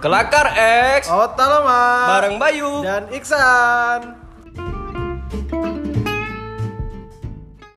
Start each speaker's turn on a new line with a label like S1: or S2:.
S1: Kelakar X
S2: Otoloma
S1: bareng Bayu.
S2: dan Iksan.